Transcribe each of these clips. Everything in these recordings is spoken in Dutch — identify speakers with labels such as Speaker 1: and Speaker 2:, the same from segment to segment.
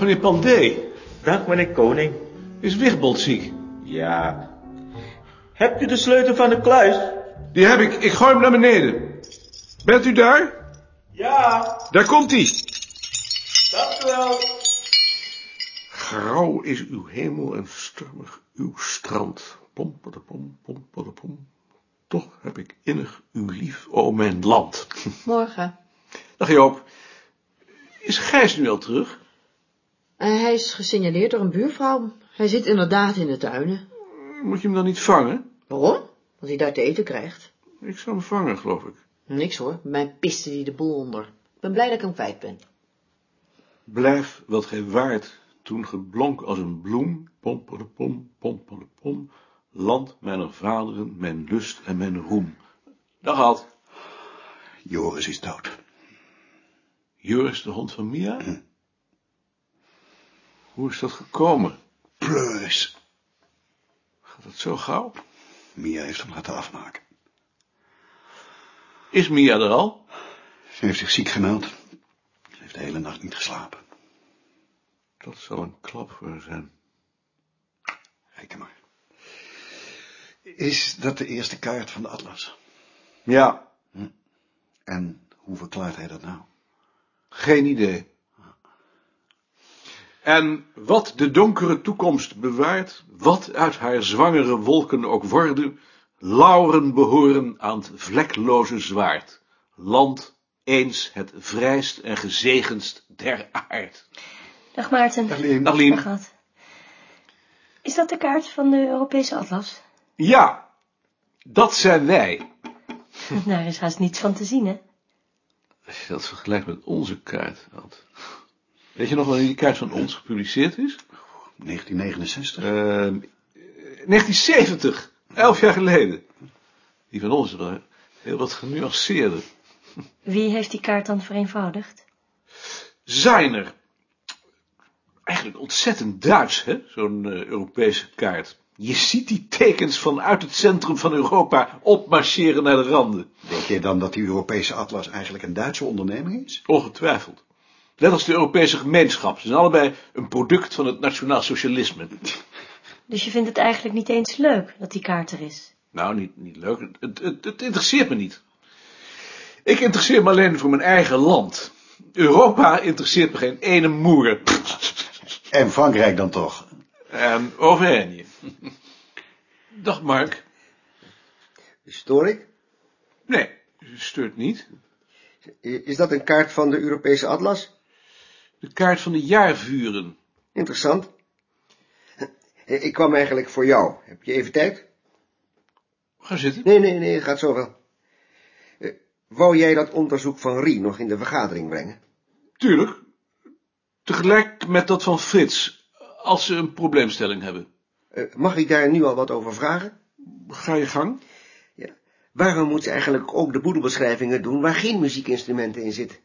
Speaker 1: Meneer Pandé,
Speaker 2: Dag, meneer Koning.
Speaker 1: is Wigbold ziek?
Speaker 2: Ja. Hebt u de sleutel van de kluis?
Speaker 3: Die heb ik. Ik gooi hem naar beneden. Bent u daar?
Speaker 2: Ja,
Speaker 3: Daar komt hij.
Speaker 2: dank u wel.
Speaker 3: Grauw is uw hemel en stormig uw strand. Pom, pom, pom, pom, pom. Toch heb ik innig uw lief, o mijn land.
Speaker 4: Morgen.
Speaker 3: Dag Joop. Is Gijs nu al terug?
Speaker 4: En Eh, hij is gesignaleerd door een buurvrouw. Hij zit inderdaad in de tuinen.
Speaker 3: Moet je hem dan niet vangen?
Speaker 4: Waarom? Want hij daar te eten krijgt.
Speaker 3: Ik zou hem vangen, geloof ik.
Speaker 4: Niks hoor, bij mij piste die de boel onder. Ik ben blij dat ik hem kwijt ben.
Speaker 3: Blijf wat gij waart, toen geblonk als een bloem, pompelepom, pompelepom, land mijner vaderen, mijn lust en mijn roem. Dag Ad.
Speaker 5: Joris is dood.
Speaker 3: Joris de hond van Mia? Hoe is dat gekomen?
Speaker 5: Pleuris.
Speaker 3: Gaat het zo gauw?
Speaker 5: Mia heeft hem laten afmaken.
Speaker 3: Is Mia er al?
Speaker 5: Ze heeft zich ziek gemeld. Ze heeft de hele nacht niet geslapen.
Speaker 3: Dat zal een klap voor haar zijn.
Speaker 5: Reken maar. Is dat de eerste kaart van de atlas?
Speaker 3: Ja,
Speaker 5: En hoe verklaart hij dat nou?
Speaker 3: geen idee. En wat de donkere toekomst bewaart, wat uit haar zwangere wolken ook worden, lauren behoren aan het vlekloze zwaard, land eens het vrijst en gezegendst der aard.
Speaker 6: Dag Maarten.
Speaker 5: Dag Leen.
Speaker 3: Dag Lien.
Speaker 6: Dag, Ad. Is dat de kaart van de Europese atlas?
Speaker 3: Ja, dat zijn wij.
Speaker 6: Nou, Daar is haast niets van te zien, hè?
Speaker 3: Als je dat vergelijkt met onze kaart, Ad. Weet je nog wanneer die kaart van ons gepubliceerd is?
Speaker 5: 1969?
Speaker 3: Ehm, 1970, elf jaar geleden. Die van ons was heel wat genuanceerder.
Speaker 6: Wie heeft die kaart dan vereenvoudigd?
Speaker 3: Zijner. Eigenlijk ontzettend Duits, hè, zo'n eh, Europese kaart. Je ziet die tekens vanuit het centrum van Europa opmarcheren naar de randen.
Speaker 5: Denk je dan dat die Europese atlas eigenlijk een Duitse onderneming is?
Speaker 3: Ongetwijfeld. Net als de Europese gemeenschap. Ze zijn allebei een product van het nationaal socialisme.
Speaker 6: Dus je vindt het eigenlijk niet eens leuk dat die kaart er is.
Speaker 3: Nou, niet, niet leuk. Het, het, het interesseert me niet. Ik interesseer me alleen voor mijn eigen land. Europa interesseert me geen ene moer.
Speaker 5: En Frankrijk dan toch?
Speaker 3: En Auvergne. Dag Mark.
Speaker 7: Stoor ik?
Speaker 3: Nee, ze stuurt niet.
Speaker 7: I- Is dat een kaart van de Europese atlas?
Speaker 3: De kaart van de jaarvuren.
Speaker 7: Interessant. I- Ik kwam eigenlijk voor jou. Heb je even tijd?
Speaker 3: Ga zitten.
Speaker 7: Nee, nee, nee, het gaat zo wel. Eh, Wou jij dat onderzoek van Rie nog in de vergadering brengen?
Speaker 3: Tuurlijk. Tegelijk met dat van Frits. Als ze een probleemstelling hebben.
Speaker 7: Eh, Mag ik daar nu al wat over vragen?
Speaker 3: Ga je gang.
Speaker 7: Waarom moet ze eigenlijk ook de boedelbeschrijvingen doen waar geen muziekinstrumenten in zitten?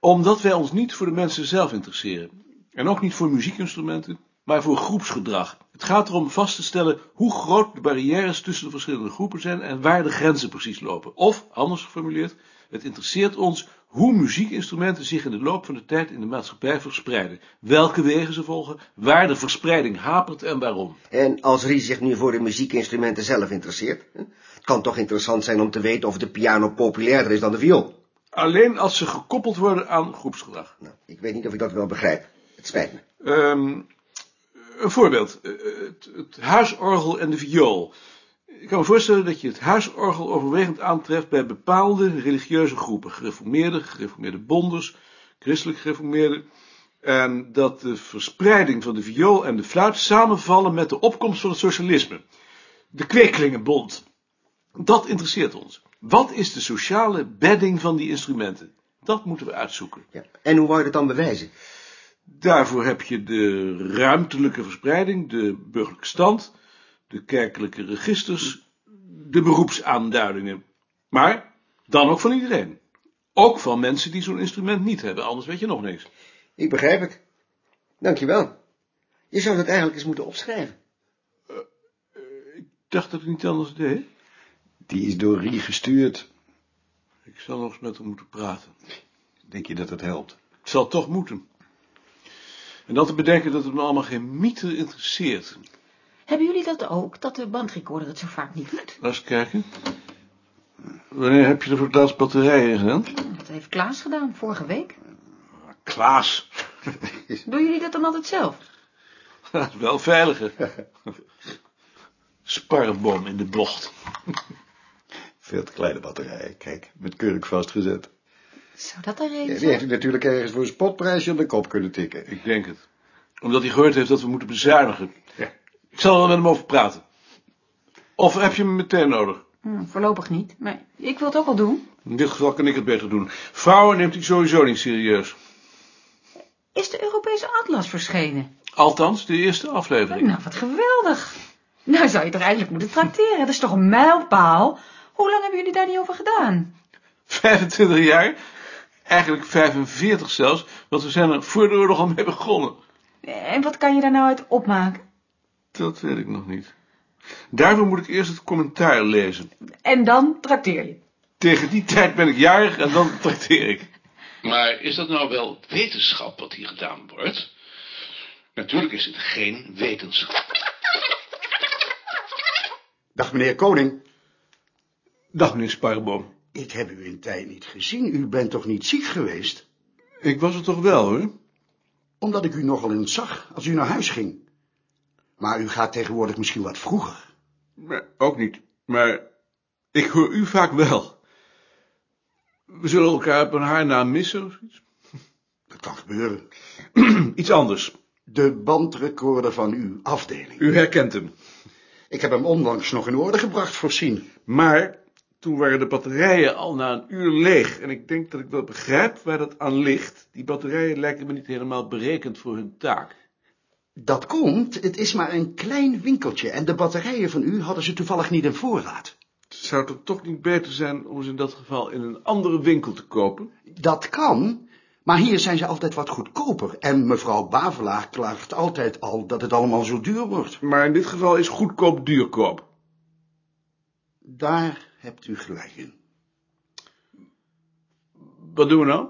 Speaker 3: Omdat wij ons niet voor de mensen zelf interesseren. En ook niet voor muziekinstrumenten, maar voor groepsgedrag. Het gaat erom vast te stellen hoe groot de barrières tussen de verschillende groepen zijn en waar de grenzen precies lopen. Of, anders geformuleerd, het interesseert ons hoe muziekinstrumenten zich in de loop van de tijd in de maatschappij verspreiden. Welke wegen ze volgen, waar de verspreiding hapert en waarom.
Speaker 7: En als Rie zich nu voor de muziekinstrumenten zelf interesseert? hè? Het kan toch interessant zijn om te weten of de piano populairder is dan de viool?
Speaker 3: Alleen als ze gekoppeld worden aan groepsgedrag.
Speaker 7: Nou, ik weet niet of ik dat wel begrijp. Het spijt me.
Speaker 3: Ehm, een voorbeeld. Eh, Het, het huisorgel en de viool. Ik kan me voorstellen dat je het huisorgel overwegend aantreft bij bepaalde religieuze groepen. Gereformeerden, gereformeerde bonders, christelijk gereformeerden. En dat de verspreiding van de viool en de fluit samenvallen met de opkomst van het socialisme. De kwekelingenbond. Dat interesseert ons. Wat is de sociale bedding van die instrumenten? Dat moeten we uitzoeken.
Speaker 7: Ja. En hoe wou je dat dan bewijzen?
Speaker 3: Daarvoor heb je de ruimtelijke verspreiding, de burgerlijke stand, de kerkelijke registers, de beroepsaanduidingen. Maar dan ook van iedereen. Ook van mensen die zo'n instrument niet hebben, anders weet je nog niks.
Speaker 7: Ik begrijp het. Dankjewel. Je zou dat eigenlijk eens moeten opschrijven.
Speaker 3: Ik dacht dat ik niet anders deed.
Speaker 5: Die is door Rie gestuurd.
Speaker 3: Ik zal nog eens met hem moeten praten.
Speaker 5: Denk je dat het helpt?
Speaker 3: Het zal toch moeten. En dan te bedenken dat het me allemaal geen mieter interesseert.
Speaker 8: Hebben jullie dat ook, dat de bandrecorder het zo vaak niet doet?
Speaker 3: Laat eens kijken. Wanneer heb je er voor het laatst batterijen in gedaan?
Speaker 8: Dat heeft Klaas gedaan, vorige week.
Speaker 3: Klaas.
Speaker 8: Doen jullie dat dan altijd zelf?
Speaker 3: Dat is wel veiliger. Sparrenboom in de bocht.
Speaker 5: Veel te kleine batterijen, kijk, met keurig vastgezet.
Speaker 8: Zou dat een reden
Speaker 5: Ja,
Speaker 8: zijn?
Speaker 5: die heeft hij natuurlijk ergens voor een spotprijsje op de kop kunnen tikken.
Speaker 3: Ik denk het. Omdat hij gehoord heeft dat we moeten bezuinigen. Ik zal er wel met hem over praten. Of heb je hem meteen nodig?
Speaker 8: Hm, voorlopig niet, maar ik wil het ook al doen.
Speaker 3: In dit geval kan ik het beter doen. Vrouwen neemt hij sowieso niet serieus.
Speaker 8: Is de Europese atlas verschenen?
Speaker 3: Althans, de eerste aflevering.
Speaker 8: Nou, wat geweldig. Nou zou je toch eigenlijk moeten tracteren. Dat is toch een mijlpaal? Hoe lang hebben jullie daar niet over gedaan?
Speaker 3: 25 jaar. Eigenlijk 45 zelfs, want we zijn er voor de oorlog al mee begonnen.
Speaker 8: En wat kan je daar nou uit opmaken?
Speaker 3: Dat weet ik nog niet. Daarvoor moet ik eerst het commentaar lezen.
Speaker 8: En dan trakteer je.
Speaker 3: Tegen die tijd ben ik jarig en dan trakteer ik.
Speaker 2: Maar is dat nou wel wetenschap wat hier gedaan wordt? Natuurlijk is het geen wetenschap.
Speaker 5: Dag meneer Koning.
Speaker 3: Dag meneer Sparboom.
Speaker 5: Ik heb u in tijd niet gezien. U bent toch niet ziek geweest?
Speaker 3: Ik was er toch wel hoor?
Speaker 5: Omdat ik u nogal eens zag als u naar huis ging. Maar u gaat tegenwoordig misschien wat vroeger.
Speaker 3: Maar ook niet. Maar ik hoor u vaak wel. We zullen elkaar op een haarnaam missen of iets.
Speaker 5: Dat kan gebeuren.
Speaker 3: Iets anders.
Speaker 5: De bandrecorder van uw afdeling.
Speaker 3: U herkent hem.
Speaker 5: Ik heb hem onlangs nog in orde gebracht voorzien.
Speaker 3: Maar toen waren de batterijen al na een uur leeg. En ik denk dat ik wel begrijp waar dat aan ligt. Die batterijen lijken me niet helemaal berekend voor hun taak.
Speaker 5: Dat komt, het is maar een klein winkeltje en de batterijen van u hadden ze toevallig niet in voorraad.
Speaker 3: Zou het dan toch niet beter zijn om ze in dat geval in een andere winkel te kopen?
Speaker 5: Dat kan, maar hier zijn ze altijd wat goedkoper en mevrouw Bavelaar klaagt altijd al dat het allemaal zo duur wordt.
Speaker 3: Maar in dit geval is goedkoop duurkoop.
Speaker 5: Daar hebt u gelijk in.
Speaker 3: Wat doen we nou?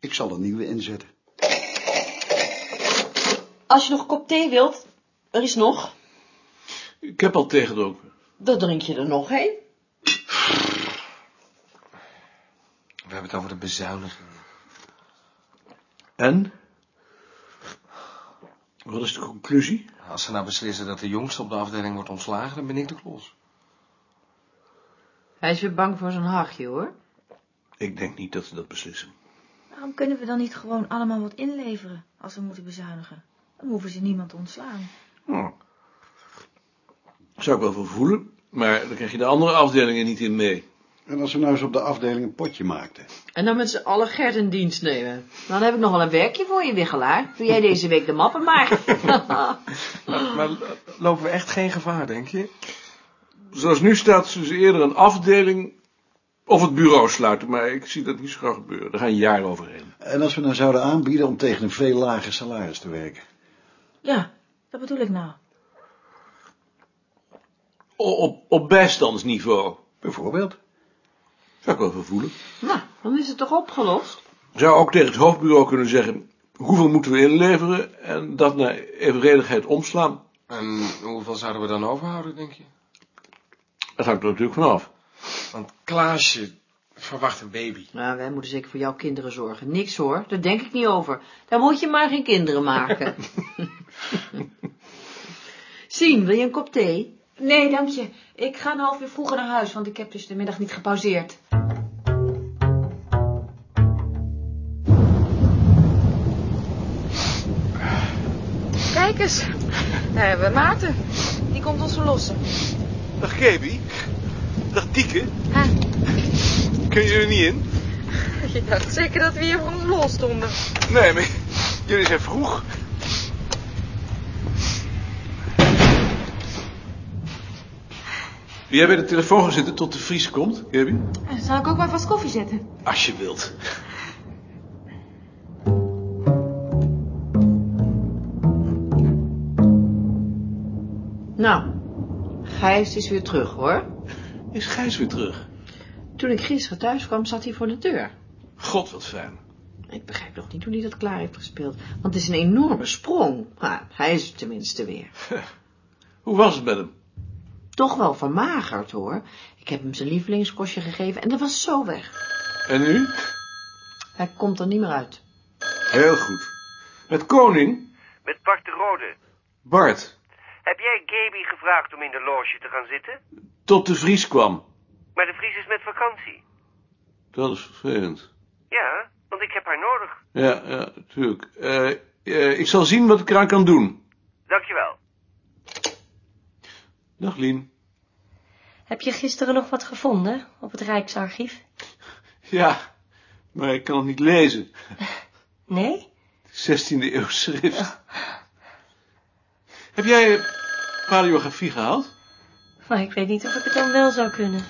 Speaker 5: Ik zal een nieuwe inzetten.
Speaker 4: Als je nog een kop thee wilt, er is nog.
Speaker 3: Ik heb al tegenroken.
Speaker 4: Dan drink je er nog heen.
Speaker 9: We hebben het over de bezuiniging.
Speaker 3: En? Wat is de conclusie?
Speaker 9: Als ze nou beslissen dat de jongste op de afdeling wordt ontslagen, dan ben ik de klos.
Speaker 4: Hij is weer bang voor zijn hachje, hoor.
Speaker 3: Ik denk niet dat ze dat beslissen.
Speaker 6: Waarom kunnen we dan niet gewoon allemaal wat inleveren als we moeten bezuinigen? Dan hoeven ze niemand te ontslaan.
Speaker 3: Hm. Zou ik wel voor voelen, maar dan krijg je de andere afdelingen niet in mee.
Speaker 5: En als we nou eens op de afdeling een potje maakten?
Speaker 4: En dan met z'n allen Gert in dienst nemen. Dan heb ik nogal een werkje voor je, Wiggelaar. Doe jij deze week de mappen maar.
Speaker 9: Maar l- lopen we echt geen gevaar, denk je?
Speaker 3: Zoals nu staat, zullen ze eerder een afdeling of het bureau sluiten, maar ik zie dat niet zo graag gebeuren. Daar gaan jaren overheen.
Speaker 5: En als we nou zouden aanbieden om tegen een veel lager salaris te werken?
Speaker 6: Ja, dat bedoel ik nou.
Speaker 3: O- Op, op bijstandsniveau.
Speaker 5: Bijvoorbeeld?
Speaker 3: Zou ik wel voor voelen.
Speaker 4: nou, dan is het toch opgelost?
Speaker 3: Zou ook tegen het hoofdbureau kunnen zeggen, hoeveel moeten we inleveren en dat naar evenredigheid omslaan.
Speaker 9: En hoeveel zouden we dan overhouden, denk je?
Speaker 3: Dat hangt er natuurlijk vanaf.
Speaker 9: Want Klaasje verwacht een baby.
Speaker 4: Nou, wij moeten zeker voor jouw kinderen zorgen. Niks hoor, daar denk ik niet over. Daar moet je maar geen kinderen maken. Sien, wil je een kop thee?
Speaker 8: Nee, dank je. Ik ga een half uur vroeger naar huis, want ik heb dus de middag niet gepauzeerd.
Speaker 10: Kijk eens, daar hebben we Maarten. Die komt ons verlossen.
Speaker 1: Dag Kebi. Dag Dieke.
Speaker 10: Ha.
Speaker 1: Kun je er niet in?
Speaker 10: Je dacht zeker dat we hier voor een lol stonden.
Speaker 1: Nee, maar jullie zijn vroeg.
Speaker 3: Jij bij de telefoon gaan zitten tot de Vries komt, Kirby?
Speaker 10: Zal ik ook maar vast koffie zetten?
Speaker 1: Als je wilt.
Speaker 4: Nou, Gijs is weer terug hoor.
Speaker 3: Is Gijs weer terug?
Speaker 4: Toen ik gisteren thuis kwam, zat hij voor de deur.
Speaker 3: God, wat fijn.
Speaker 4: Ik begrijp nog niet hoe hij dat klaar heeft gespeeld. Want het is een enorme sprong. Maar hij is het tenminste weer.
Speaker 3: Hoe was het met hem?
Speaker 4: Toch wel vermagerd, hoor. Ik heb hem zijn lievelingskostje gegeven en dat was zo weg.
Speaker 3: En nu?
Speaker 4: Hij komt er niet meer uit.
Speaker 3: Heel goed. Met koning?
Speaker 11: Met Bart de Rode.
Speaker 3: Bart.
Speaker 11: Heb jij Gaby gevraagd om in de loge te gaan zitten?
Speaker 3: Tot de Vries kwam.
Speaker 11: Maar de Vries is met vakantie.
Speaker 3: Dat is vervelend.
Speaker 11: Ja, want ik heb haar nodig.
Speaker 3: Ja, ja, tuurlijk. Eh, eh, ik zal zien wat ik eraan kan doen.
Speaker 11: Dankjewel.
Speaker 3: Dag, Lien.
Speaker 12: Heb je gisteren nog wat gevonden op het Rijksarchief?
Speaker 3: Ja, maar ik kan het niet lezen.
Speaker 12: Nee?
Speaker 3: 16e eeuw schrift. Heb jij eh, paleografie gehaald?
Speaker 12: Maar ik weet niet of ik het dan wel zou kunnen.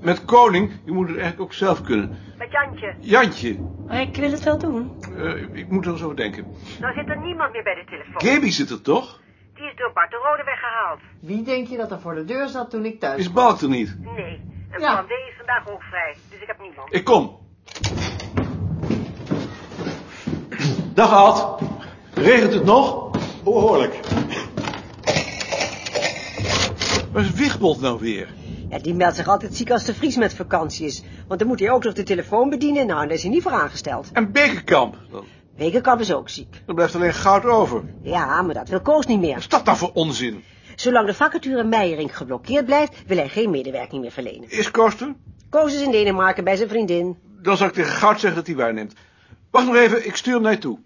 Speaker 3: Met koning? Je moet het eigenlijk ook zelf kunnen.
Speaker 13: Met Jantje.
Speaker 3: Jantje,
Speaker 12: Maar ik wil het wel doen.
Speaker 3: eh, ik moet er eens over denken.
Speaker 13: Nou zit er niemand meer bij de telefoon.
Speaker 3: Gaby zit er toch?
Speaker 13: Die is door Bart de Rode weggehaald.
Speaker 4: Wie denk je dat er voor de deur zat toen ik thuis
Speaker 3: Is Balk er niet?
Speaker 13: Nee. En Van D is vandaag ook vrij. Dus ik heb niemand.
Speaker 3: Ik kom. Dag Ad. Regent het nog? Behoorlijk. Waar is Wichtbold nou weer?
Speaker 14: Ja, die meldt zich altijd ziek als de Vries met vakantie is. Want dan moet hij ook nog de telefoon bedienen. Nou, daar is hij niet voor aangesteld.
Speaker 3: En Bekenkamp?
Speaker 14: Bekerkamp is ook ziek.
Speaker 3: Er blijft alleen goud over.
Speaker 14: Ja, maar dat wil Koos niet meer.
Speaker 3: Wat nou voor onzin?
Speaker 14: Zolang de vacature Meijering geblokkeerd blijft, wil hij geen medewerking meer verlenen.
Speaker 3: Is Kosten?
Speaker 14: Koos is in Denemarken bij zijn vriendin.
Speaker 3: Dan zal ik tegen Goud zeggen dat hij waarneemt. Wacht nog even, ik stuur hem naar je toe.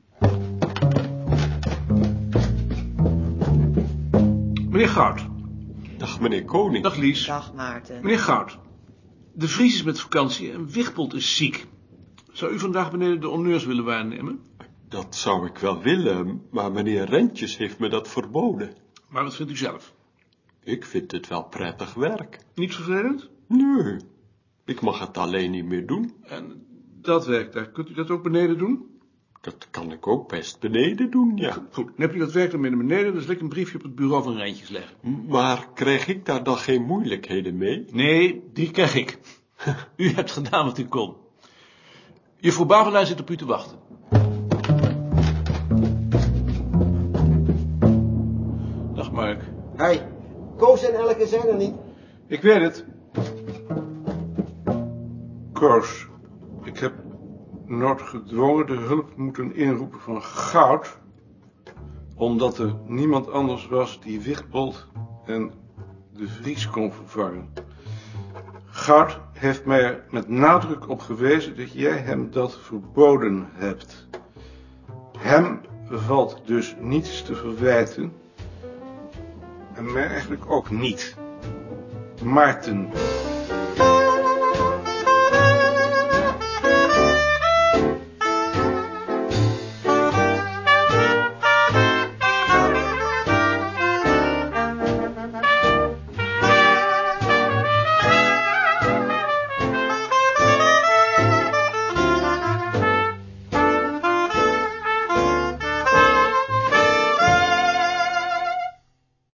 Speaker 3: Meneer Goud. Dag meneer Koning. Dag Lies.
Speaker 15: Dag Maarten.
Speaker 3: Meneer Goud, de Vries is met vakantie en Wichtbold is ziek. Zou u vandaag beneden de honneurs willen waarnemen?
Speaker 16: Dat zou ik wel willen, maar meneer Rentjes heeft me dat verboden.
Speaker 3: Maar wat vindt u zelf?
Speaker 16: Ik vind het wel prettig werk.
Speaker 3: Niet vervelend?
Speaker 16: Nee, ik mag het alleen niet meer doen.
Speaker 3: En dat werk daar, kunt u dat ook beneden doen?
Speaker 16: Dat kan ik ook best beneden doen, ja.
Speaker 3: Goed, dan heb je dat werk dan mee naar beneden, dan zal ik een briefje op het bureau van Rentjes leggen.
Speaker 16: Maar krijg ik daar dan geen moeilijkheden mee?
Speaker 3: Nee, die krijg ik. U hebt gedaan wat u kon. Juffrouw Bavelaar zit op u te wachten. Dag Mark.
Speaker 7: Hoi. Koos en Elke zijn er niet.
Speaker 3: Ik weet het. Koos, ik heb noodgedwongen de hulp moeten inroepen van goud. Omdat er niemand anders was die Wichtbold en de Vries kon vervangen. Goud heeft mij er met nadruk op gewezen dat jij hem dat verboden hebt. Hem valt dus niets te verwijten. En mij eigenlijk ook niet. Maarten.